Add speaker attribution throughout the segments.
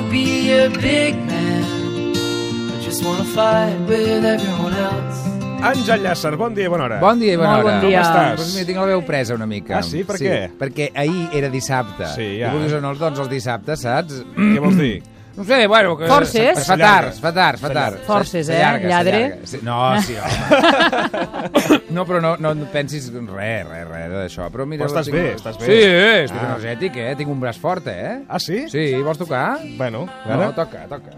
Speaker 1: a big man. I just wanna fight with everyone else.
Speaker 2: Àngel Llàcer, bon dia i bona hora.
Speaker 3: Bon dia i bona
Speaker 4: Molt
Speaker 3: hora.
Speaker 4: bon dia.
Speaker 2: Com estàs?
Speaker 3: Doncs mira, tinc la veu presa una mica.
Speaker 2: Ah, sí? Per què?
Speaker 3: Perquè ahir era dissabte.
Speaker 2: Sí, ja.
Speaker 3: I vulguis o no, doncs els dissabtes, saps?
Speaker 2: Què vols dir?
Speaker 3: No sé, bueno... Que...
Speaker 4: Forces.
Speaker 3: Es fa tard, es fa tard, es fa tard.
Speaker 4: Forces, eh?
Speaker 3: S'allarga,
Speaker 4: Lladre.
Speaker 3: s'allarga. Sí, No, sí, home. no, però no, no et pensis res, res, res d'això. Però mira...
Speaker 2: Però estàs
Speaker 3: tinc-
Speaker 2: bé, estàs bé.
Speaker 3: Sí, eh, estic
Speaker 2: Ah.
Speaker 3: energètic, eh? Tinc un braç fort, eh?
Speaker 2: Ah, sí?
Speaker 3: Sí, vols tocar?
Speaker 2: Bueno,
Speaker 3: No,
Speaker 2: ara...
Speaker 3: toca, toca.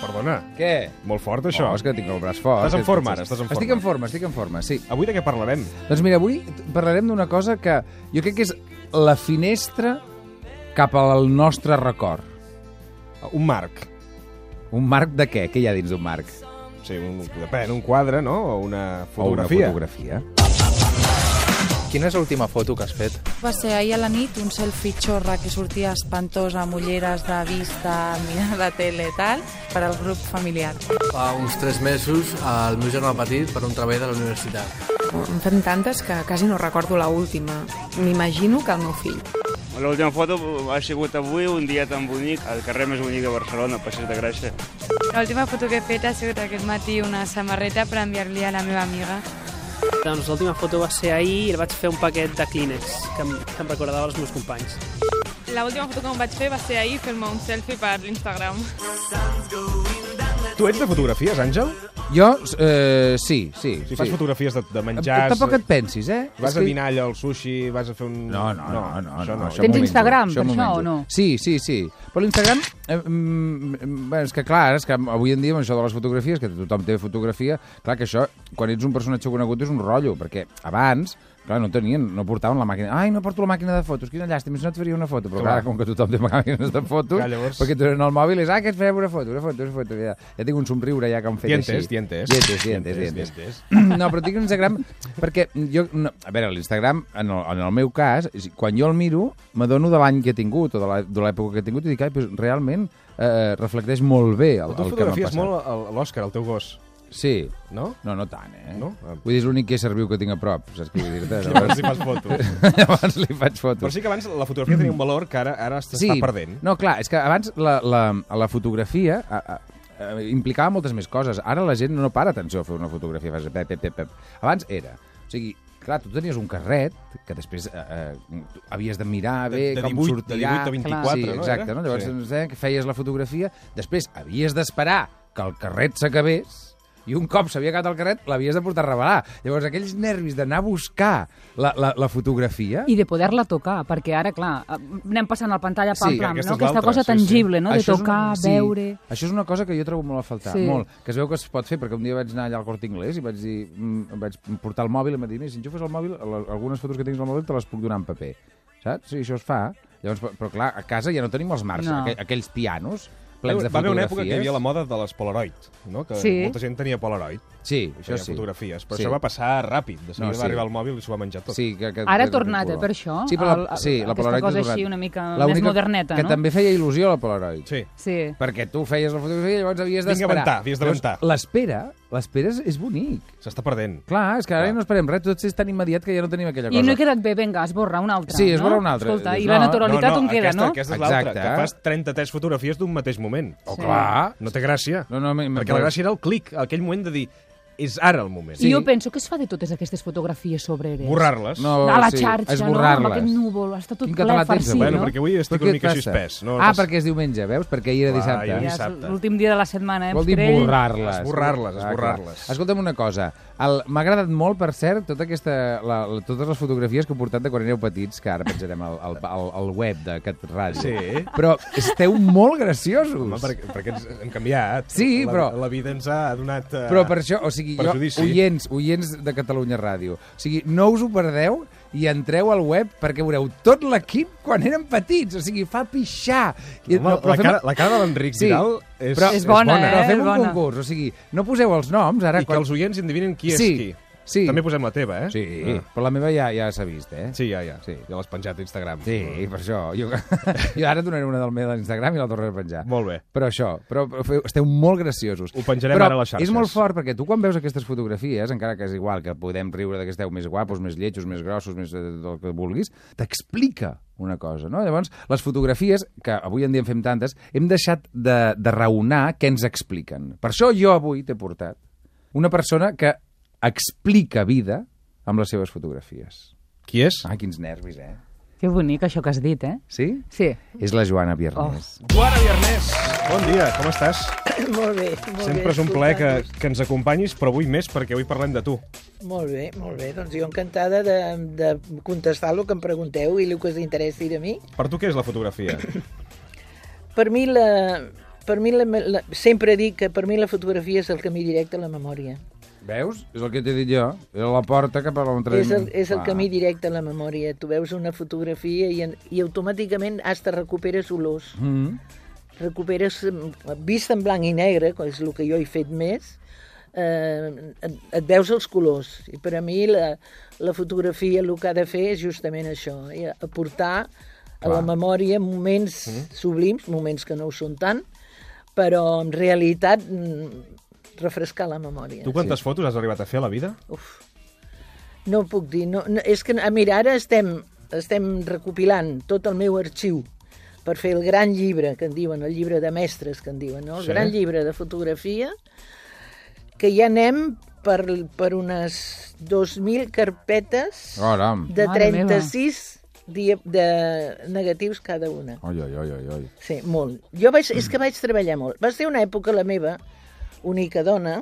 Speaker 2: Perdona.
Speaker 3: Què?
Speaker 2: Molt fort, això.
Speaker 3: Oh, és que tinc el braç fort.
Speaker 2: Estàs en
Speaker 3: Que-
Speaker 2: forma, ara, estàs en
Speaker 3: Estic
Speaker 2: forma.
Speaker 3: en forma, estic en forma, sí.
Speaker 2: Avui de què parlarem?
Speaker 3: Doncs mira, avui parlarem d'una cosa que jo crec que és la finestra cap al nostre record.
Speaker 2: Un marc.
Speaker 3: Un marc de què? Què hi ha dins d'un marc?
Speaker 2: Sí, un, depèn, un quadre, no? O una
Speaker 3: O una
Speaker 2: fotografia.
Speaker 3: fotografia.
Speaker 5: Quina és l'última foto que has fet?
Speaker 6: Va ser ahir a la nit un selfie xorra que sortia espantós amb ulleres de vista, mirant la tele i tal, per al grup familiar.
Speaker 5: Fa uns tres mesos, al meu germà petit, per un treball de la universitat.
Speaker 7: En fem tantes que quasi no recordo la última. M'imagino que el meu fill.
Speaker 8: L'última foto ha sigut avui, un dia tan bonic, al carrer més bonic de Barcelona, Passeig de Gràcia.
Speaker 9: L'última foto que he fet ha sigut aquest matí una samarreta per enviar-li a la meva amiga.
Speaker 10: Doncs l'última foto va ser ahir i el vaig fer un paquet de Kleenex, que em, que em recordava els meus companys.
Speaker 9: L'última foto que em vaig fer va ser ahir fer-me un selfie per l'Instagram.
Speaker 2: Tu ets de fotografies, Àngel?
Speaker 3: Jo, eh, sí, sí.
Speaker 2: Si fas
Speaker 3: sí.
Speaker 2: fotografies de, de menjars...
Speaker 3: Tampoc et pensis, eh?
Speaker 2: Vas
Speaker 3: És
Speaker 2: a
Speaker 3: que-
Speaker 2: dinar allà al sushi, vas a fer un...
Speaker 3: No, no, no, no.
Speaker 2: això
Speaker 3: no,
Speaker 2: no.
Speaker 3: això
Speaker 4: Tens
Speaker 3: m'ho
Speaker 4: Instagram,
Speaker 3: m'ho
Speaker 4: per això,
Speaker 3: menjo.
Speaker 4: o no?
Speaker 3: Sí, sí, sí. Però l'Instagram... Eh, mm, bé, és que clar, és que avui en dia amb això de les fotografies, que tothom té fotografia, clar que això, quan ets un personatge conegut, és un rotllo, perquè abans Clar, no tenien, no portaven la màquina. Ai, no porto la màquina de fotos, quina llàstima, si no et faria una foto. Però clar,
Speaker 2: Clar.
Speaker 3: com que tothom té màquines de fotos,
Speaker 2: Clar, llavors-
Speaker 3: perquè tu en el mòbil és, ah, que et farem una foto, una foto, una foto. Ja, ja tinc un somriure ja que em feia
Speaker 2: Dientes,
Speaker 3: així.
Speaker 2: dientes.
Speaker 3: Dientes, dientes, dientes. No, però tinc un Instagram perquè jo... No, a veure, l'Instagram, en, el, en el meu cas, és- quan jo el miro, m'adono de l'any que he tingut o de la- de l'època que he tingut i dic, ai, però realment eh, reflecteix molt bé el,
Speaker 2: Tu
Speaker 3: el que m'ha
Speaker 2: fotografies
Speaker 3: passat.
Speaker 2: molt el- l'Òscar, el teu gos,
Speaker 3: Sí.
Speaker 2: no?
Speaker 3: No, no tant, eh?
Speaker 2: No?
Speaker 3: Vull dir, és l'únic que serviu que tinc a prop, saps què vull dir-te?
Speaker 2: Llavors hi fas fotos.
Speaker 3: Llavors li faig fotos.
Speaker 2: Però sí que abans la fotografia tenia un valor que ara ara s'està perdent.
Speaker 3: No, clar, és que abans la, la, la fotografia a, a, a, implicava moltes més coses. Ara la gent no para atenció a fer una fotografia. Fas pep, pep, pep, pep. Abans era... O sigui, clar, tu tenies un carret que després eh, eh, tu havies de mirar
Speaker 2: De-
Speaker 3: bé
Speaker 2: de 18
Speaker 3: com
Speaker 2: de
Speaker 3: sortirà.
Speaker 2: 18 a 24,
Speaker 3: sí,
Speaker 2: no, era?
Speaker 3: Exacte, no? Llavors
Speaker 2: Sí.
Speaker 3: ens deien que feies la fotografia, després havies d'esperar que el carret s'acabés i un cop s'havia acabat el carret, l'havies de portar a revelar. Llavors, aquells nervis d'anar a buscar la, la, la fotografia...
Speaker 4: I de poder-la tocar, perquè ara, clar, anem passant la pantalla
Speaker 3: Sí,
Speaker 4: pam,
Speaker 3: que
Speaker 4: pam,
Speaker 2: aquesta és
Speaker 4: no? aquesta
Speaker 2: l'altra,
Speaker 4: cosa
Speaker 2: sí, sí.
Speaker 4: tangible, no? de
Speaker 3: Això és
Speaker 4: tocar,
Speaker 3: sí,
Speaker 4: veure...
Speaker 3: Això és una cosa que jo trobo molt a faltar, sí.
Speaker 4: Sí.
Speaker 3: molt. Que es veu que es pot fer, perquè un dia vaig anar allà al Corte Inglés i vaig dir, mm, em vaig portar el mòbil i em va dir, "Mira, si enxufes el mòbil, la- algunes fotos que tens al mòbil te les puc donar en paper. Saps? Sí, això es fa. Llavors, però- però clar, a casa ja no tenim els marcs,
Speaker 4: No.
Speaker 3: aqu aquells pianos
Speaker 2: Va
Speaker 3: plens de
Speaker 2: haver una
Speaker 3: fotografies.
Speaker 2: època que hi havia la moda de les Polaroid, no? que
Speaker 4: Sí.
Speaker 2: molta gent tenia Polaroid
Speaker 3: Sí,
Speaker 2: i
Speaker 3: això
Speaker 2: feia
Speaker 3: sí.
Speaker 2: fotografies, però
Speaker 3: Sí.
Speaker 2: això va passar ràpid, de seguida
Speaker 3: No, sí.
Speaker 2: va arribar el mòbil i s'ho va menjar tot.
Speaker 3: Sí, que, que,
Speaker 4: Ara ha
Speaker 3: que-
Speaker 4: tornat,
Speaker 3: que-
Speaker 4: eh, per això,
Speaker 3: Sí, però
Speaker 4: el-
Speaker 3: la,
Speaker 4: el-
Speaker 3: sí, la
Speaker 4: aquesta
Speaker 3: Polaroid
Speaker 4: cosa
Speaker 3: ha tornat.
Speaker 4: així una mica més
Speaker 3: L'única
Speaker 4: moderneta,
Speaker 3: que
Speaker 4: no?
Speaker 3: també feia il·lusió, la Polaroid.
Speaker 2: Sí.
Speaker 4: Sí.
Speaker 3: Perquè tu feies la fotografia i llavors havies
Speaker 2: Vinga,
Speaker 3: d'esperar.
Speaker 2: aguantar, havies
Speaker 3: Llavors,
Speaker 2: d'aguantar.
Speaker 3: L'espera, l'espera és, és bonic.
Speaker 2: S'està perdent.
Speaker 3: Clar, és que ara
Speaker 2: Clar.
Speaker 3: ja no esperem res, tot és tan immediat que ja no tenim aquella
Speaker 4: I
Speaker 3: cosa.
Speaker 4: no he quedat bé, vinga, esborra una altra.
Speaker 3: Sí,
Speaker 4: no?
Speaker 3: esborra una altra.
Speaker 4: Escolta, i
Speaker 3: Dius,
Speaker 4: la
Speaker 3: no,
Speaker 4: naturalitat on queda,
Speaker 2: aquesta,
Speaker 4: no?
Speaker 2: Aquesta és
Speaker 3: Exacte.
Speaker 2: l'altra, que fas 33 fotografies d'un mateix moment.
Speaker 3: Oh,
Speaker 4: Sí.
Speaker 3: clar.
Speaker 2: No té gràcia.
Speaker 3: No, no, me- me-
Speaker 2: perquè la gràcia era el clic, aquell moment de dir és ara el moment.
Speaker 3: Sí.
Speaker 4: I jo penso, què es fa de totes aquestes fotografies sobre eres?
Speaker 2: Borrar-les.
Speaker 3: No,
Speaker 4: A la
Speaker 3: sí,
Speaker 4: xarxa,
Speaker 3: esborrar-les.
Speaker 4: no? Amb aquest núvol, està tot
Speaker 3: Quin
Speaker 4: ple
Speaker 3: català tens,
Speaker 4: farcit,
Speaker 2: bueno,
Speaker 4: no?
Speaker 2: perquè avui estic
Speaker 3: Però
Speaker 2: una
Speaker 3: què
Speaker 2: mica
Speaker 3: et passa?
Speaker 2: suspès. No,
Speaker 3: ah,
Speaker 2: Pas-
Speaker 3: perquè és diumenge, veus? Perquè ahir era
Speaker 2: Clar,
Speaker 3: dissabte.
Speaker 2: ahir
Speaker 4: Ja, és
Speaker 2: dissabte.
Speaker 4: l'últim dia de la setmana, eh?
Speaker 3: Vol dir
Speaker 4: Escrell.
Speaker 3: borrar-les.
Speaker 2: Esborrar-les,
Speaker 3: Ah, clar.
Speaker 2: esborrar-les.
Speaker 3: Escolta'm una cosa. el- M'ha agradat molt, per cert, tota aquesta, la, la, totes les fotografies que heu portat de quan éreu petits, que ara penjarem al, al, al, al web de Cat Ràdio.
Speaker 2: Sí.
Speaker 3: Però esteu molt graciosos.
Speaker 2: Home, perquè, perquè ens hem canviat.
Speaker 3: Sí,
Speaker 2: la,
Speaker 3: però-
Speaker 2: La vida ens ha donat... eh,
Speaker 3: Però per això, o sigui, jo,
Speaker 2: Perjudici.
Speaker 3: oients, oients de Catalunya Ràdio, o sigui, no us ho perdeu i entreu al web perquè veureu tot l'equip quan érem petits, o sigui, fa pixar. I-
Speaker 2: Home, la,
Speaker 3: fem-
Speaker 2: cara, la cara de l'Enric
Speaker 3: Sí,
Speaker 2: Vidal és,
Speaker 3: però-
Speaker 4: És bona, eh?
Speaker 3: Però fem
Speaker 4: és
Speaker 3: un
Speaker 4: bona.
Speaker 3: concurs, o sigui, no poseu els noms ara...
Speaker 2: I eh? que els oients endevinen qui és
Speaker 3: Sí,
Speaker 2: qui.
Speaker 3: sí.
Speaker 2: També posem la teva, eh?
Speaker 3: Sí,
Speaker 2: Ah.
Speaker 3: però la meva ja, ja s'ha vist, eh?
Speaker 2: Sí, ja, ja.
Speaker 3: Sí.
Speaker 2: Sí. Ja l'has penjat a Instagram.
Speaker 3: Sí, per això. Jo, jo ara donaré una del meu a l'Instagram i la tornaré a penjar.
Speaker 2: Molt bé.
Speaker 3: Però això, però feu- esteu molt graciosos.
Speaker 2: Ho penjarem
Speaker 3: però
Speaker 2: ara a les xarxes.
Speaker 3: és molt fort perquè tu quan veus aquestes fotografies, encara que és igual que podem riure de que esteu més guapos, més lletjos, més grossos, més eh, del que vulguis, t'explica una cosa, no? Llavors, les fotografies, que avui en dia en fem tantes, hem deixat de, de raonar què ens expliquen. Per això jo avui t'he portat una persona que explica vida amb les seves fotografies.
Speaker 2: Qui és?
Speaker 3: Ah, quins nervis, eh?
Speaker 4: Que bonic això que has dit, eh?
Speaker 3: Sí?
Speaker 4: Sí.
Speaker 3: És la Joana Biernés. Oh.
Speaker 2: Guara Viernès, bon dia, com estàs?
Speaker 11: Molt bé, molt
Speaker 2: Sempre
Speaker 11: bé.
Speaker 2: és un plaer que, que ens acompanyis, però avui més perquè avui parlem de tu.
Speaker 11: Molt bé, molt bé. Doncs jo encantada de, de contestar el que em pregunteu i el que us interessi de mi.
Speaker 2: Per tu què és la fotografia?
Speaker 11: Per mi, la, per mi la, la, sempre dic que per mi la fotografia és el camí directe a la memòria.
Speaker 4: Oh.
Speaker 3: Veus? És el que t'he dit jo. Era la porta cap a Ah. l'entrada.
Speaker 11: És el, és el camí directe a la memòria. Tu veus una fotografia i, en- i automàticament has te recuperes olors.
Speaker 3: Mm.
Speaker 11: recuperes mm, vist en blanc i negre, que és el que jo he fet més, eh, et, et veus els colors. I per a mi la, la fotografia el que ha de fer és justament això, i aportar a la
Speaker 12: Clar.
Speaker 11: memòria moments
Speaker 12: Mhm.
Speaker 11: sublims, moments que no ho són tant, però en realitat mm, refrescar la memòria.
Speaker 2: Tu quantes fotos has arribat a fer a la vida?
Speaker 11: Uf. No ho puc dir. No, no, és que, ah, mira, ara estem, estem recopilant tot el meu arxiu per fer el gran llibre, que en diuen, el llibre de mestres, que en diuen, no? El
Speaker 12: Sí.
Speaker 11: sí. gran llibre de fotografia, que ja anem per, per unes 2.000 carpetes
Speaker 3: Caram.
Speaker 11: de
Speaker 3: Mare meva.
Speaker 11: 36 dia, de negatius cada una.
Speaker 3: Oi, oi, oi, oi, oi.
Speaker 11: Sí, molt. Jo vaig, és que vaig treballar molt. Va ser una època, la meva, única dona,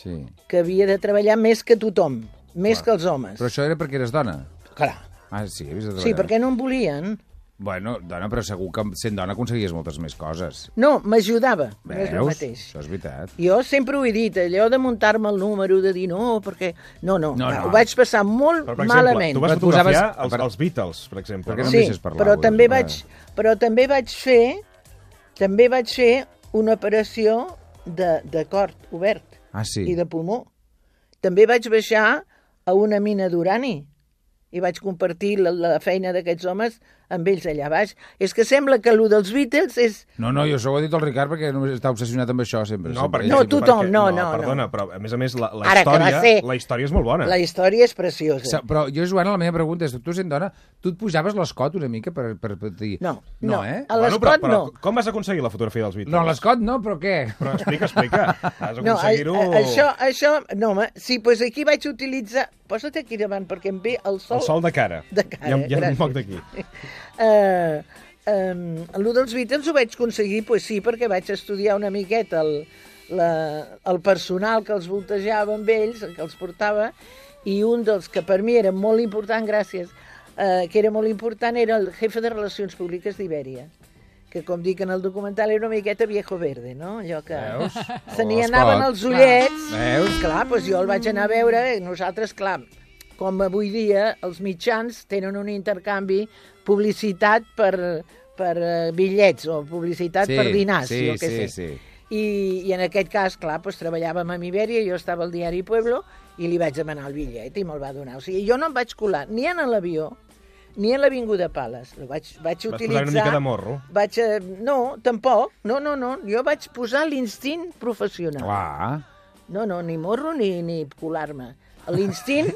Speaker 3: Sí.
Speaker 11: que havia de treballar més que tothom, més que els homes.
Speaker 3: Però això era perquè eres dona?
Speaker 11: Clar.
Speaker 3: Ah, sí, he vist de
Speaker 11: Sí, perquè no em volien.
Speaker 3: Bueno, dona, però segur que sent dona aconseguies moltes més coses.
Speaker 11: No, m'ajudava. No
Speaker 3: Veus?
Speaker 11: és el mateix.
Speaker 3: Això és veritat.
Speaker 11: Jo sempre ho he dit, allò de muntar-me el número, de dir no, perquè... No, no,
Speaker 2: No,
Speaker 11: no,
Speaker 2: no.
Speaker 11: no. ho vaig passar molt
Speaker 2: Però, per
Speaker 11: malament.
Speaker 2: exemple, tu vas
Speaker 3: Et posaves-
Speaker 2: fotografiar els, els Beatles, per exemple. no?
Speaker 11: sí, però també, vaig,
Speaker 2: eh?
Speaker 11: però també vaig fer també vaig fer una operació de, de cort obert
Speaker 3: Ah, sí.
Speaker 11: i de pulmó. També vaig baixar a una mina d'urani i vaig compartir la, la feina d'aquests homes amb ells allà baix. És que sembla que allò dels Beatles és...
Speaker 3: No, no, jo això ho ha dit el Ricard perquè només està obsessionat amb això sempre.
Speaker 2: No,
Speaker 3: sempre.
Speaker 2: perquè,
Speaker 11: No, tothom,
Speaker 2: perquè,
Speaker 11: no, no,
Speaker 2: Perdona, però a més a més la, la,
Speaker 11: Ara que va
Speaker 2: història,
Speaker 11: ser-
Speaker 2: la història és molt bona.
Speaker 11: La història és preciosa.
Speaker 3: Sa- Però jo, Joana, la meva pregunta és, tu sent dona, tu et pujaves l'escot una mica per, per, per dir...
Speaker 11: No,
Speaker 3: no, eh?
Speaker 11: a l'escot
Speaker 2: però, però,
Speaker 11: no.
Speaker 2: Com vas aconseguir la fotografia dels Beatles?
Speaker 3: No, l'escot no, però què?
Speaker 2: Però explica, explica. Has
Speaker 11: No, a-
Speaker 2: aconseguir-ho...
Speaker 11: a- això, això... No, home, sí, doncs aquí vaig utilitzar... Posa't aquí davant perquè em ve el sol...
Speaker 2: El sol de cara.
Speaker 11: De cara, eh?
Speaker 2: Hi ha, hi ha un
Speaker 11: gràcies.
Speaker 2: moc d'aquí.
Speaker 11: Eh, eh, el dels Beatles ho vaig aconseguir, pues sí, perquè vaig estudiar una miqueta el, la, el personal que els voltejava amb ells, que els portava, i un dels que per mi era molt important, gràcies, eh, que era molt important, era el jefe de Relacions Públiques d'Ibèria que com dic en el documental era una miqueta viejo verde, no? Allò que
Speaker 3: Veus?
Speaker 11: se n'hi
Speaker 3: O
Speaker 11: anaven
Speaker 3: Scott.
Speaker 11: els ullets.
Speaker 3: Veus?
Speaker 11: Clar, doncs jo el vaig anar a veure i nosaltres, clar, com avui dia els mitjans tenen un intercanvi publicitat per, per eh, bitllets o publicitat
Speaker 3: Sí,
Speaker 11: per dinars,
Speaker 3: sí,
Speaker 11: jo què
Speaker 3: sí,
Speaker 11: sé.
Speaker 3: sí.
Speaker 11: I, I en aquest cas, clar, doncs, treballàvem a Iberia, jo estava al diari Pueblo i li vaig demanar el bitllet i me'l va donar. O sigui, jo no em vaig colar ni en l'avió ni a l'Avinguda Pales. Lo vaig, vaig
Speaker 2: Vas
Speaker 11: utilitzar...
Speaker 2: posar una mica de morro.
Speaker 11: Vaig, eh, no, tampoc. No, no, no. Jo vaig posar l'instint professional.
Speaker 3: Clar.
Speaker 11: No, no, ni morro ni, ni colar-me. L'instint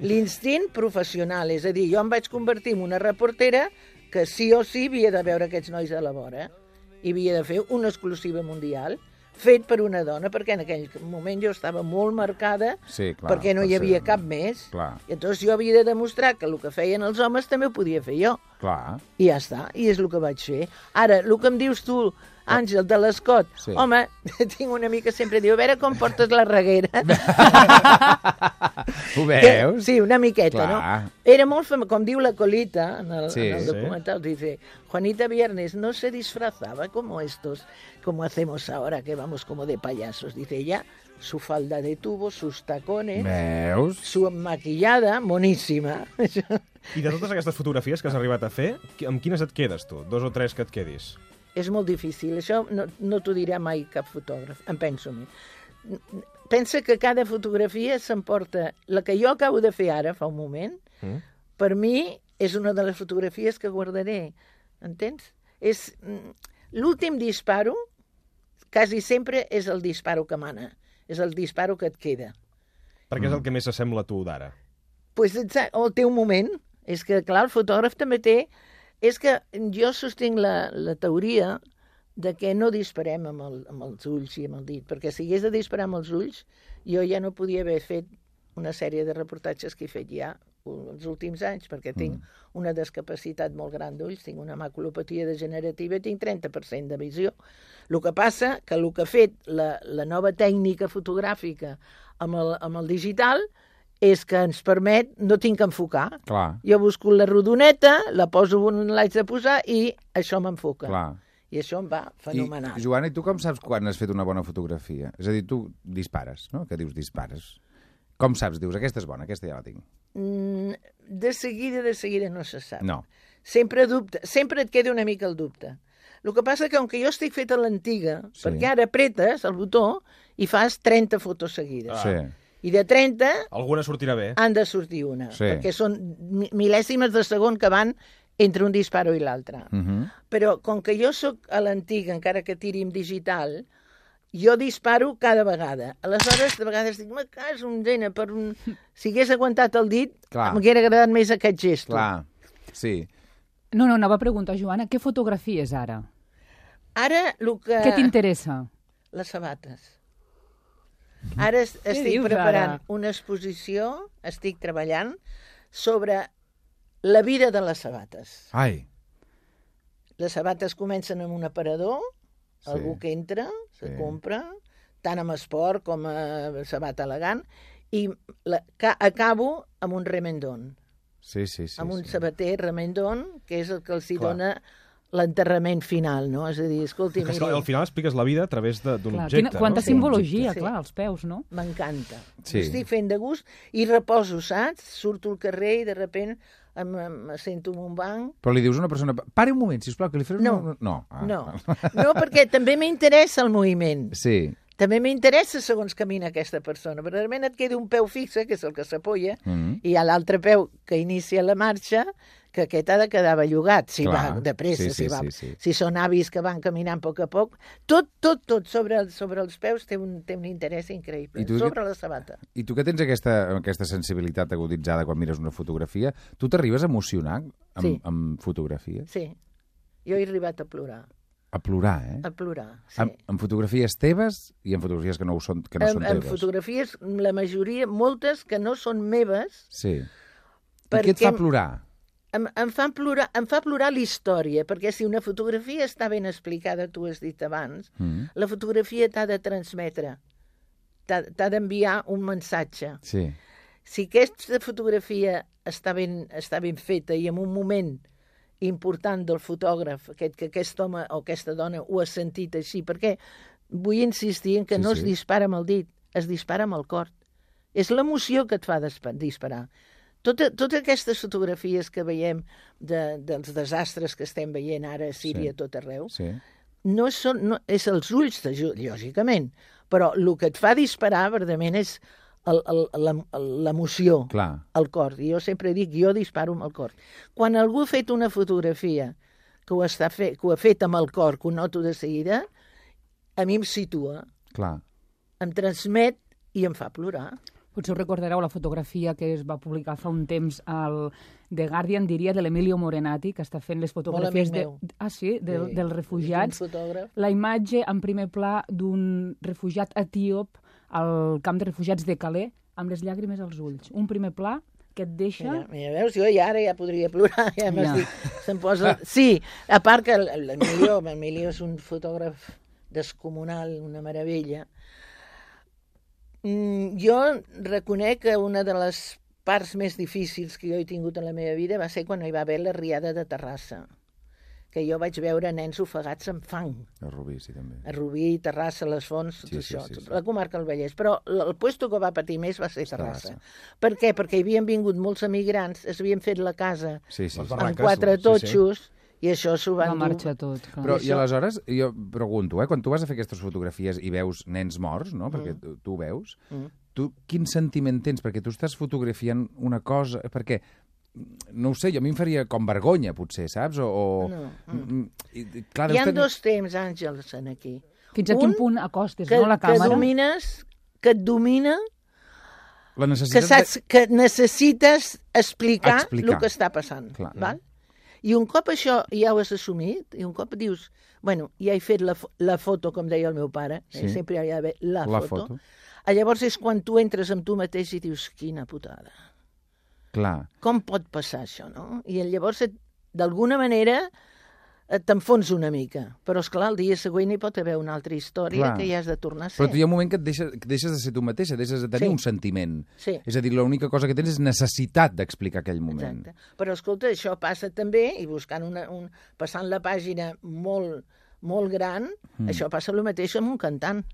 Speaker 11: l'instint professional. És a dir, jo em vaig convertir en una reportera que sí o sí havia de veure aquests nois a la vora i havia de fer una exclusiva mundial fet per una dona, perquè en aquell moment jo estava molt marcada
Speaker 3: Sí, clar.
Speaker 11: perquè no hi
Speaker 3: per
Speaker 11: havia
Speaker 3: ser-
Speaker 11: cap més.
Speaker 3: Clar,
Speaker 11: I llavors jo havia de demostrar que el que feien els homes també ho podia fer jo.
Speaker 3: clar.
Speaker 11: I ja està, i és el que vaig fer. Ara, el que em dius tu, Àngel, de l'escot,
Speaker 3: Ah. Sí.
Speaker 11: sí. home, tinc una mica sempre, diu, a veure com portes la reguera.
Speaker 3: Ho veus?
Speaker 11: Sí, una miqueta,
Speaker 3: Clar.
Speaker 11: no? Era molt fam... com diu la Colita en el,
Speaker 3: Sí.
Speaker 11: en el
Speaker 3: Sí.
Speaker 11: documental, dice, Juanita Viernes no se disfrazaba como estos, como hacemos ahora, que vamos como de payasos. Dice ella, su falda de tubo, sus tacones,
Speaker 3: Veus?
Speaker 11: su maquillada, moníssima.
Speaker 2: I de totes aquestes fotografies que has arribat a fer, qui- amb quines et quedes tu? Dos o tres que et quedis?
Speaker 11: És molt difícil, això no, no t'ho dirà mai cap fotògraf, em penso a mi. N- n- Pensa que cada fotografia s'emporta... La que jo acabo de fer ara, fa un moment,
Speaker 12: Mm.
Speaker 11: per mi és una de les fotografies que guardaré, entens? És... mm, L'últim disparo, quasi sempre és el disparo que mana, és el disparo que et queda.
Speaker 2: Perquè és
Speaker 4: Mm.
Speaker 2: el que més s'assembla a tu d'ara.
Speaker 11: Pues, et sa- o el teu moment. És que, clar, el fotògraf també té és que jo sostinc la, la teoria de que no disparem amb, el, amb els ulls i amb el dit, perquè si hagués de disparar amb els ulls, jo ja no podia haver fet una sèrie de reportatges que he fet ja els últims anys, perquè tinc una discapacitat molt gran d'ulls, tinc una maculopatia degenerativa i tinc 30% de visió. El que passa que el que ha fet la, la nova tècnica fotogràfica amb el, amb el digital és que ens permet, no tinc que enfocar,
Speaker 3: Clar,
Speaker 11: jo busco la rodoneta, la poso on l'haig de posar i això m'enfoca.
Speaker 3: clar.
Speaker 11: I això em va fenomenal.
Speaker 3: I, Joana, i tu com saps quan has fet una bona fotografia? És a dir, tu dispares, no? Que dius dispares. Com saps? Dius, aquesta és bona, aquesta ja la tinc.
Speaker 11: Mm, de seguida, de seguida no se sap.
Speaker 3: No.
Speaker 11: Sempre dubte, sempre et queda una mica el dubte. El que passa que, com que jo estic fet a l'antiga, sí. perquè ara apretes el botó i fas 30 fotos seguides.
Speaker 2: Ah. Sí.
Speaker 11: I de 30
Speaker 2: Alguna sortirà bé.
Speaker 11: han de sortir una,
Speaker 2: Sí.
Speaker 11: perquè són mi- mil·lèsimes de segon que van entre un disparo i l'altre.
Speaker 3: Uh -huh.
Speaker 11: Però com que jo sóc a l'antiga, encara que tiri en digital, jo disparo cada vegada. Aleshores, de vegades dic, me cas un nena, per un... Si hagués aguantat el dit,
Speaker 3: Clar.
Speaker 11: m'haguera agradat més aquest gest.
Speaker 3: Clar, sí.
Speaker 4: No, no, anava a preguntar, Joana, què fotografies ara?
Speaker 11: Ara, el que...
Speaker 4: Què t'interessa?
Speaker 11: Les sabates. Ara es-
Speaker 4: Què
Speaker 11: estic
Speaker 4: dius,
Speaker 11: preparant
Speaker 4: ara?
Speaker 11: una exposició, estic treballant, sobre la vida de les sabates.
Speaker 3: Ai,
Speaker 11: Les sabates comencen amb un aparador,
Speaker 3: Sí.
Speaker 11: sí. algú que entra, se
Speaker 3: Sí.
Speaker 11: sí. compra, tant amb esport com a sabata elegant, i la, ca, acabo amb un remendón,
Speaker 3: sí, sí,
Speaker 11: sí,
Speaker 3: sí.
Speaker 11: amb un
Speaker 3: sí.
Speaker 11: sabater remendón, que és el que els hi
Speaker 2: Clar.
Speaker 11: dona l'enterrament final, no? És a dir, escolti,
Speaker 2: És que
Speaker 11: miri,
Speaker 2: al final expliques la vida a través de- d'un
Speaker 4: Clar,
Speaker 2: objecte.
Speaker 4: quina- quanta
Speaker 2: no?
Speaker 4: simbologia, clar, als peus, no?
Speaker 11: M'encanta.
Speaker 2: Sí.
Speaker 11: Sí. Estic fent de gust i reposo, saps? Surto al carrer i de repent em, em sento en un banc
Speaker 3: Però li dius a una persona, pare un moment, sisplau, que li faré...
Speaker 11: No.
Speaker 3: una... No. Ah.
Speaker 11: No, no perquè també m'interessa el moviment.
Speaker 3: Sí,
Speaker 11: També m'interessa segons camina aquesta persona. Però realment et queda un peu fixe, que és el que s'apoya,
Speaker 3: Mhm.
Speaker 11: i a l'altre peu que inicia la marxa, que aquest ha de quedar bellugat, si
Speaker 3: Clar.
Speaker 11: va de pressa,
Speaker 3: Sí, sí,
Speaker 11: si va...
Speaker 3: sí, sí.
Speaker 11: Si són avis que van caminant a poc a poc. Tot, tot, tot sobre, el- sobre els peus té un, té un interès increïble.
Speaker 3: I tu-
Speaker 11: Sobre la sabata.
Speaker 3: I tu que tens aquesta, aquesta sensibilitat aguditzada quan mires una fotografia, tu t'arribes a emocionar amb, sí.
Speaker 11: Sí.
Speaker 3: amb fotografies?
Speaker 11: Sí. Jo he arribat a plorar.
Speaker 3: A plorar, eh?
Speaker 11: A plorar,
Speaker 3: sí. Amb, amb fotografies teves i amb fotografies que no ho són, que no
Speaker 11: en,
Speaker 3: són
Speaker 11: en
Speaker 3: teves.
Speaker 11: fotografies, la majoria, moltes que no són meves,
Speaker 3: Sí. I què
Speaker 11: Perquè-
Speaker 3: et fa plorar?
Speaker 11: em, em, fan plorar, em fa plorar la història, perquè si una fotografia està ben explicada, tu ho has dit abans,
Speaker 3: Mm.
Speaker 11: la fotografia t'ha de transmetre, t'ha t'ha d'enviar un missatge.
Speaker 3: Sí.
Speaker 11: Si aquesta fotografia està ben, està ben feta i en un moment important del fotògraf, aquest, que aquest home o aquesta dona ho ha sentit així, perquè vull insistir en que
Speaker 12: Sí,
Speaker 11: sí, no sí.
Speaker 12: sí.
Speaker 11: es dispara amb el dit, es dispara amb el cor. És l'emoció que et fa dispa- disparar. Tota, totes aquestes fotografies que veiem de, dels desastres que estem veient ara a Síria,
Speaker 13: Sí.
Speaker 11: sí. tot arreu,
Speaker 3: Sí.
Speaker 11: no són, no, és els ulls, de Ju- lògicament, però el que et fa disparar, verdament, és el- el- l'em- l'emoció,
Speaker 3: Clar.
Speaker 11: el cor. I jo sempre dic, jo disparo amb el cor. Quan algú ha fet una fotografia que ho, està fe, que ho ha fet amb el cor, que ho noto de seguida, a mi em situa,
Speaker 3: Clar.
Speaker 11: em transmet i em fa plorar.
Speaker 4: Potser us recordareu la fotografia que es va publicar fa un temps al The Guardian, diria, de l'Emilio Morenati, que està fent les fotografies...
Speaker 11: amic
Speaker 4: de...
Speaker 11: meu.
Speaker 4: Ah, sí? De,
Speaker 11: Sí,
Speaker 4: sí. Dels refugiats.
Speaker 11: és un fotògraf.
Speaker 4: La imatge en primer pla d'un refugiat etíop al camp de refugiats de Calais amb les llàgrimes als ulls. Un primer pla que et deixa...
Speaker 11: Mira, mira, veus, jo ja ara ja podria plorar,
Speaker 4: Ja.
Speaker 11: ja m'estic... Se'm posa... Sí, a part que l- l'Emilio, l'Emilio és un fotògraf descomunal, una meravella. Mm, jo reconec que una de les parts més difícils que jo he tingut en la meva vida va ser quan hi va haver la riada de Terrassa, que jo vaig veure nens ofegats amb fang
Speaker 3: A Rubí, sí, també.
Speaker 11: a Rubí, Terrassa, les Fonts, tot
Speaker 3: Sí,
Speaker 11: sí,
Speaker 3: sí,
Speaker 11: això,
Speaker 3: sí,
Speaker 11: sí, sí,
Speaker 3: sí.
Speaker 11: la comarca del Vallès. Però l- el puesto que va patir més va ser Terrassa.
Speaker 3: Terrassa.
Speaker 11: Per què? Perquè hi havien vingut molts emigrants, es havien fet la casa
Speaker 3: Sí, sí, sí.
Speaker 11: amb quatre
Speaker 3: Sí, sí.
Speaker 11: totxos, i això s'ho van
Speaker 4: Va
Speaker 11: dur.
Speaker 4: marxar tot, clar.
Speaker 3: Però, I aleshores, jo pregunto, eh, quan tu vas a fer aquestes fotografies i veus nens morts, no? perquè
Speaker 11: Mm.
Speaker 3: tu, tu ho veus,
Speaker 11: Mm.
Speaker 3: tu quin sentiment tens? Perquè tu estàs fotografiant una cosa... Perquè, mm, no ho sé, jo a mi em faria com vergonya, potser, saps? O, o...
Speaker 11: No,
Speaker 3: Mm, I, i, clar,
Speaker 11: Hi ha
Speaker 3: deus tenir-
Speaker 11: dos temps, Àngels, en aquí.
Speaker 4: Fins a
Speaker 11: Un
Speaker 4: quin punt acostes,
Speaker 11: que,
Speaker 4: no, la càmera?
Speaker 11: Que domines, que et domina,
Speaker 3: La
Speaker 11: que,
Speaker 3: necessitat...
Speaker 11: saps, que necessites explicar,
Speaker 3: Explicar.
Speaker 11: el que està passant.
Speaker 3: Clar.
Speaker 11: Val? I un cop això ja ho has assumit, i un cop dius, bueno, ja he fet la, fo- la foto, com deia el meu pare, sí. eh?
Speaker 3: Sí.
Speaker 11: sempre hi ha d'haver la,
Speaker 3: La
Speaker 11: foto.
Speaker 3: foto.
Speaker 11: Ah, Llavors és quan tu entres amb tu mateix i dius, quina putada.
Speaker 3: Clar.
Speaker 11: Com pot passar això, no? I llavors, et- d'alguna manera, eh, t'enfons una mica. Però, és clar el dia següent hi pot haver una altra història
Speaker 3: Clar.
Speaker 11: que hi has de tornar a ser.
Speaker 3: Però tu hi ha un moment que et deixes, que deixes de ser tu mateixa, deixes de tenir
Speaker 11: Sí.
Speaker 3: un sentiment.
Speaker 11: Sí.
Speaker 3: És a dir, l'única cosa que tens és necessitat d'explicar aquell moment.
Speaker 11: Exacte. Però escolta, això passa també, i buscant una, un, passant la pàgina molt, molt gran,
Speaker 3: Mm.
Speaker 11: mm. això passa el mateix amb un cantant.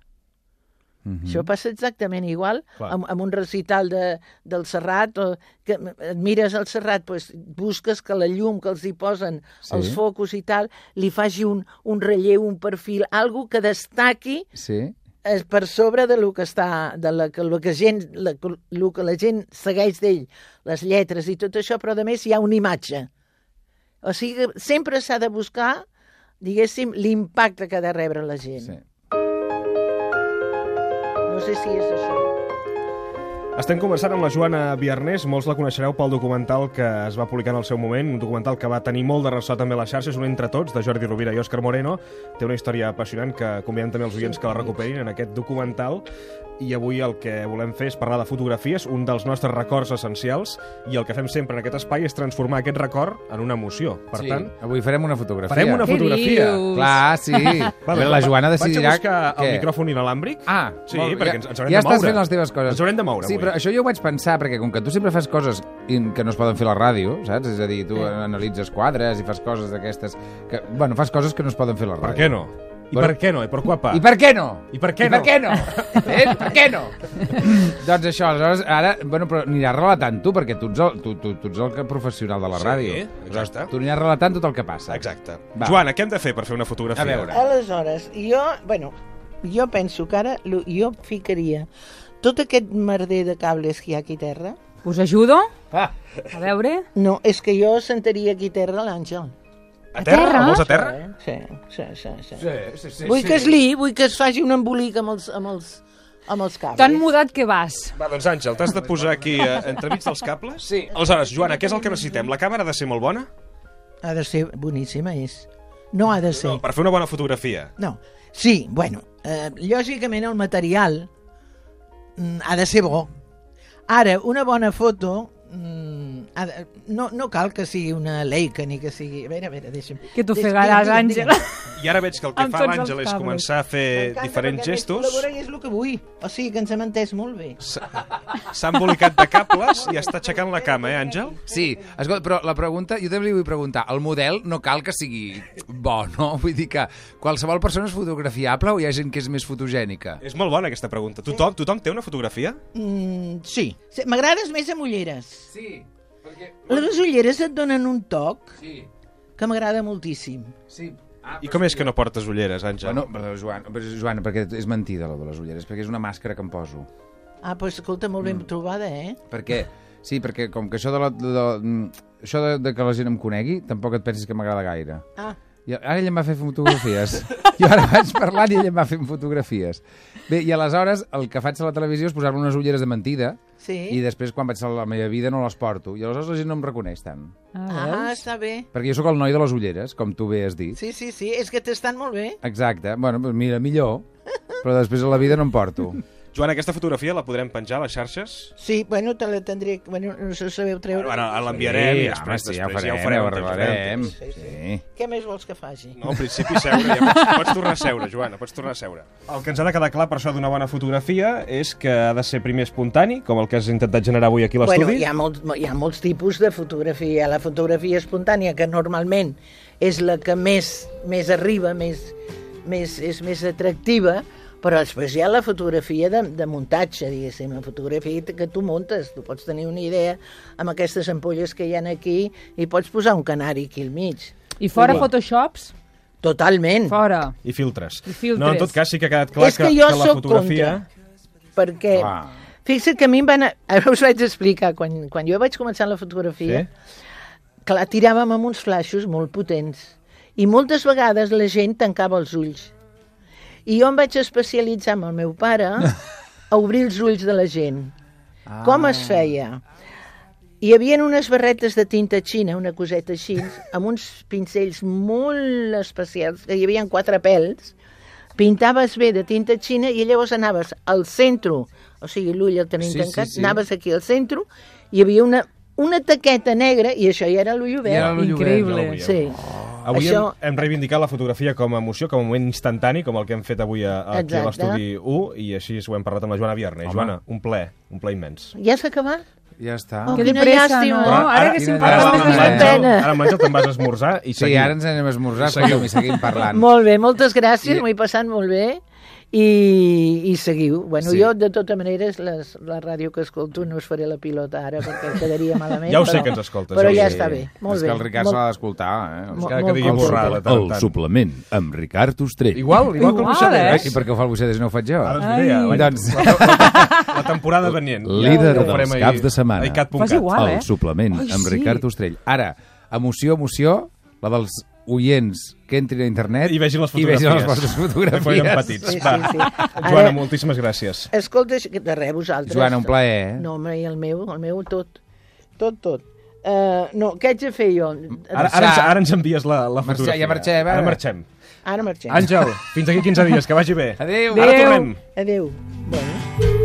Speaker 3: Mm
Speaker 11: Això passa exactament igual
Speaker 3: Clar.
Speaker 11: amb, amb un recital de, del Serrat, o que et mires el Serrat, doncs busques que la llum que els hi posen,
Speaker 3: Sí.
Speaker 11: sí. els focus i tal, li faci un, un relleu, un perfil, algo que destaqui
Speaker 3: Sí?
Speaker 11: eh, per sobre de lo que està de la que lo que gent la, lo que la gent segueix d'ell, les lletres i tot això, però a més hi ha una imatge. O sigui que sempre s'ha de buscar, diguéssim, l'impacte que ha de rebre la gent.
Speaker 3: Sí.
Speaker 11: No sé si és això.
Speaker 2: Estem conversant amb la Joana Biarnés, molts la coneixereu pel documental que es va publicar en el seu moment, un documental que va tenir molt de ressò també a les xarxes, un entre tots, de Jordi Rovira i Òscar Moreno. Té una història apassionant que convidem també els oients que la recuperin en aquest documental. I avui el que volem fer és parlar de fotografies, un dels nostres records essencials, i el que fem sempre en aquest espai és transformar aquest record en una emoció. Per
Speaker 3: Sí.
Speaker 2: tant,
Speaker 3: Avui farem una fotografia.
Speaker 2: Farem una fotografia.
Speaker 3: Clar, sí. Vale, la Joana decidirà...
Speaker 2: Vaig a buscar
Speaker 3: què?
Speaker 2: el micròfon inalàmbric.
Speaker 3: Ah,
Speaker 2: sí,
Speaker 3: molt bé.
Speaker 2: perquè ens, ens haurem
Speaker 3: ja
Speaker 2: de moure.
Speaker 3: estàs fent les teves coses.
Speaker 2: Ens haurem de moure
Speaker 3: Sí,
Speaker 2: avui.
Speaker 3: però això jo ho vaig pensar, perquè com que tu sempre fas coses in- que no es poden fer a la ràdio, saps? És a dir, tu analitzes quadres i fas coses d'aquestes... Que, bueno, fas coses que no es poden fer a la ràdio.
Speaker 2: què no? I per què no? I per què pa?
Speaker 3: I per què no?
Speaker 2: I per què
Speaker 3: I per
Speaker 2: no?
Speaker 3: què no? eh? Per què no? doncs això, aleshores, ara... Bueno, però aniràs relatant tu, perquè tu ets el, tu, tu, tu ets el que- professional de la
Speaker 2: Sí,
Speaker 3: ràdio.
Speaker 2: exacte.
Speaker 3: Tu aniràs relatant tot el que passa.
Speaker 2: Exacte.
Speaker 3: Va.
Speaker 2: Joana, què hem de fer per fer una fotografia?
Speaker 3: A veure.
Speaker 11: Aleshores, jo, bueno, jo penso que ara lo- jo ficaria tot aquest merder de cables que hi ha aquí a terra.
Speaker 4: Us ajudo?
Speaker 3: Ah.
Speaker 4: A veure...
Speaker 11: No, és que jo sentaria aquí a terra l'Àngel.
Speaker 2: A terra? terra? Vols a terra?
Speaker 11: Sí, sí, sí. sí.
Speaker 3: sí, sí, sí
Speaker 11: vull que es liï, vull que es faci un embolic amb els, amb els, amb els cables.
Speaker 4: Tan mudat que vas.
Speaker 2: Va, doncs Àngel, t'has de posar aquí eh, entremig dels cables. Sí. Aleshores, Joana, què és el que necessitem? La càmera ha de ser molt bona?
Speaker 11: Ha de ser boníssima, és. No ha de ser.
Speaker 2: No, per fer una bona fotografia.
Speaker 11: No. Sí, bueno, eh, lògicament el material mm, ha de ser bo. Ara, una bona foto mm, ha de, no, no cal que sigui una Leica ni que sigui... A veure, a veure, deixa'm...
Speaker 4: Que
Speaker 11: t'ofegaràs, Digue'm, digue'm, Àngela.
Speaker 2: I ara veig que el que
Speaker 11: Amb
Speaker 2: fa
Speaker 11: tots els
Speaker 2: l'Àngel és
Speaker 11: cables.
Speaker 2: començar a fer Eh, diferents gestos.
Speaker 11: Col·labora i és el que vull. O sigui que ens hem entès molt bé.
Speaker 2: S'ha embolicat de cables i està aixecant la cama, eh, Àngel?
Speaker 3: Sí, escolta, però la pregunta, jo també li vull preguntar, el model no cal que sigui bo, no? Vull dir que qualsevol persona és fotografiable o hi ha gent que és més fotogènica?
Speaker 2: És molt bona aquesta pregunta. Tothom, tothom té una fotografia?
Speaker 11: Mm, sí. Sí, M'agrades més amb ulleres.
Speaker 3: Sí, perquè...
Speaker 11: Les ulleres et donen un toc
Speaker 3: Sí,
Speaker 11: que m'agrada moltíssim.
Speaker 3: sí. Ah,
Speaker 2: I com és que no portes ulleres, Àngel?
Speaker 3: Bueno, però, Joan, però, Joan, perquè és mentida, la de les ulleres, perquè és una màscara que em poso.
Speaker 11: Ah, doncs escolta, molt ben trobada, eh?
Speaker 3: Perquè, sí, perquè com que això de, la, de, mm, això de, de que la gent em conegui, tampoc et pensis que m'agrada gaire.
Speaker 11: Ah.
Speaker 3: I ara ell em va fer fotografies. jo ara vaig parlant i ell em va fent fotografies. Bé, i aleshores el que faig a la televisió és posar-me unes ulleres de mentida
Speaker 11: Sí.
Speaker 3: i després quan vaig a la meva vida no les porto. I aleshores la gent no em reconeix tant.
Speaker 11: Ah, està bé.
Speaker 3: Perquè jo sóc el noi de les ulleres, com tu bé has dit.
Speaker 11: Sí, sí, sí, és que t'estan molt bé.
Speaker 3: Exacte. Bueno, doncs mira, millor. Però després a la vida no em porto.
Speaker 2: Joana, aquesta fotografia la podrem penjar a les xarxes?
Speaker 11: Sí, bueno, te la tendré... Bueno, no sé si sabeu treure.
Speaker 2: Bueno, ara l'enviarem
Speaker 3: Sí,
Speaker 2: i després,
Speaker 3: home, sí, ja ho
Speaker 2: després, ja
Speaker 3: farem, ja ho
Speaker 2: ho farem.
Speaker 3: arreglarem.
Speaker 2: Sí, sí.
Speaker 3: Sí.
Speaker 11: Què més vols que faci?
Speaker 2: No, al principi seure, ja pots, pots tornar a seure, Joana, pots tornar a seure. El que ens ha de quedar clar per això d'una bona fotografia és que ha de ser primer espontani, com el que has intentat generar avui aquí a l'estudi.
Speaker 11: Bueno, hi ha, molt, hi ha molts tipus de fotografia. Hi ha la fotografia espontània, que normalment és la que més, més arriba, més, més, és més atractiva, però després hi ha la fotografia de, de muntatge, diguéssim, la fotografia que tu muntes. Tu pots tenir una idea amb aquestes ampolles que hi han aquí i pots posar un canari aquí al mig.
Speaker 4: I fora
Speaker 11: Igual.
Speaker 4: Photoshops?
Speaker 11: Totalment.
Speaker 4: Fora.
Speaker 2: I filtres.
Speaker 4: I filtres.
Speaker 2: No, en tot cas sí que ha quedat clar
Speaker 11: És que
Speaker 2: que,
Speaker 11: jo
Speaker 2: la
Speaker 11: sóc
Speaker 2: fotografia...
Speaker 11: perquè
Speaker 2: Clar.
Speaker 11: fixa't que a mi em van... a- Ara us vaig explicar, quan, quan jo vaig començar la fotografia, sí? clar, tiràvem amb uns flaixos molt potents i moltes vegades la gent tancava els ulls. I jo em vaig especialitzar amb el meu pare a obrir els ulls de la gent. Ah. Com es feia? Hi havia unes barretes de tinta xina, una coseta així, amb uns pincells molt especials, que hi havia quatre pèls, pintaves bé de tinta xina i llavors anaves al centre, o sigui, l'ull el tenim
Speaker 3: Sí,
Speaker 11: sí,
Speaker 3: sí,
Speaker 11: tancat, sí,
Speaker 3: sí.
Speaker 11: sí. anaves aquí al centre, hi havia una, una taqueta negra, i això ja era l'ull obert.
Speaker 2: Ja era l'ull obert, ja ho veieu.
Speaker 11: Sí.
Speaker 2: Avui
Speaker 11: Això-
Speaker 2: Això... hem, hem reivindicat la fotografia com a emoció, com a moment instantani, com el que hem fet avui a, a aquí a
Speaker 11: Exacte.
Speaker 2: l'estudi 1, i així ho hem parlat amb la Joana Viernes.
Speaker 3: Home.
Speaker 2: Joana, un ple, un ple immens.
Speaker 11: Ja s'ha acabat?
Speaker 3: Ja està.
Speaker 11: Oh, Que quina de pressa, llàstima. no? Ara que
Speaker 3: quina
Speaker 11: s'imparla
Speaker 3: llàstima. eh?
Speaker 11: més de pena.
Speaker 2: Ara hem menjat, te'n vas a esmorzar i
Speaker 3: Sí,
Speaker 2: seguim.
Speaker 3: ara ens anem a esmorzar,
Speaker 2: Seguiu.
Speaker 3: escolta'm, i seguim parlant.
Speaker 11: Molt bé, moltes gràcies,
Speaker 3: I-
Speaker 11: m'ho he passat molt bé. I, i seguiu. Bueno,
Speaker 3: Sí.
Speaker 11: sí. jo, de tota manera, és les, la ràdio que escolto no us faré la pilota ara perquè quedaria malament.
Speaker 2: Ja ho sé
Speaker 11: però,
Speaker 2: que ens escoltes,
Speaker 11: Però
Speaker 2: ja ho
Speaker 11: ja
Speaker 2: sé.
Speaker 11: està bé. Molt
Speaker 3: és
Speaker 11: bé.
Speaker 3: que el Ricard
Speaker 11: molt...
Speaker 3: se l'ha d'escoltar, eh?
Speaker 11: Mo-
Speaker 2: Encara que digui molt borrar de tant en
Speaker 12: El
Speaker 2: tant.
Speaker 12: suplement amb Ricard Ostrell.
Speaker 3: Igual, igual que el
Speaker 2: Igual,
Speaker 3: Buixaders.
Speaker 2: eh?
Speaker 3: I per què ho fa el Buixaders i no ho faig jo?
Speaker 2: Ara
Speaker 11: Ah,
Speaker 2: us diré, l'any-
Speaker 3: doncs...
Speaker 2: la, la, la temporada venient.
Speaker 12: Líder
Speaker 2: Ja ho farem
Speaker 12: dels
Speaker 2: ahir.
Speaker 12: caps de setmana.
Speaker 2: Ahir cat.cat.
Speaker 11: eh?
Speaker 12: El suplement amb Ricard Ostrell.
Speaker 3: Ara, emoció, emoció, la dels oients que entrin a internet
Speaker 2: I vegin les
Speaker 3: i
Speaker 2: fotografies.
Speaker 3: vegin les vostres fotografies.
Speaker 2: Que foren petits.
Speaker 11: Sí,
Speaker 2: Va.
Speaker 11: sí, sí. Ara-
Speaker 2: Joana, moltíssimes gràcies.
Speaker 11: Escolta, això que de res, vosaltres.
Speaker 2: Joana, un plaer, eh?
Speaker 11: No, home, i el meu, el meu tot. Tot, tot. Uh, no, què haig de fer jo?
Speaker 2: Ara,
Speaker 11: Doncs
Speaker 2: ara, ens, ara ens envies la, la
Speaker 3: Marxar,
Speaker 2: fotografia.
Speaker 3: ja marxem, ara.
Speaker 2: Ara marxem.
Speaker 11: Ara marxem.
Speaker 2: Àngel, fins aquí 15 dies, que vagi bé.
Speaker 11: Adéu.
Speaker 2: Ara tornem.
Speaker 11: Adéu. Bueno.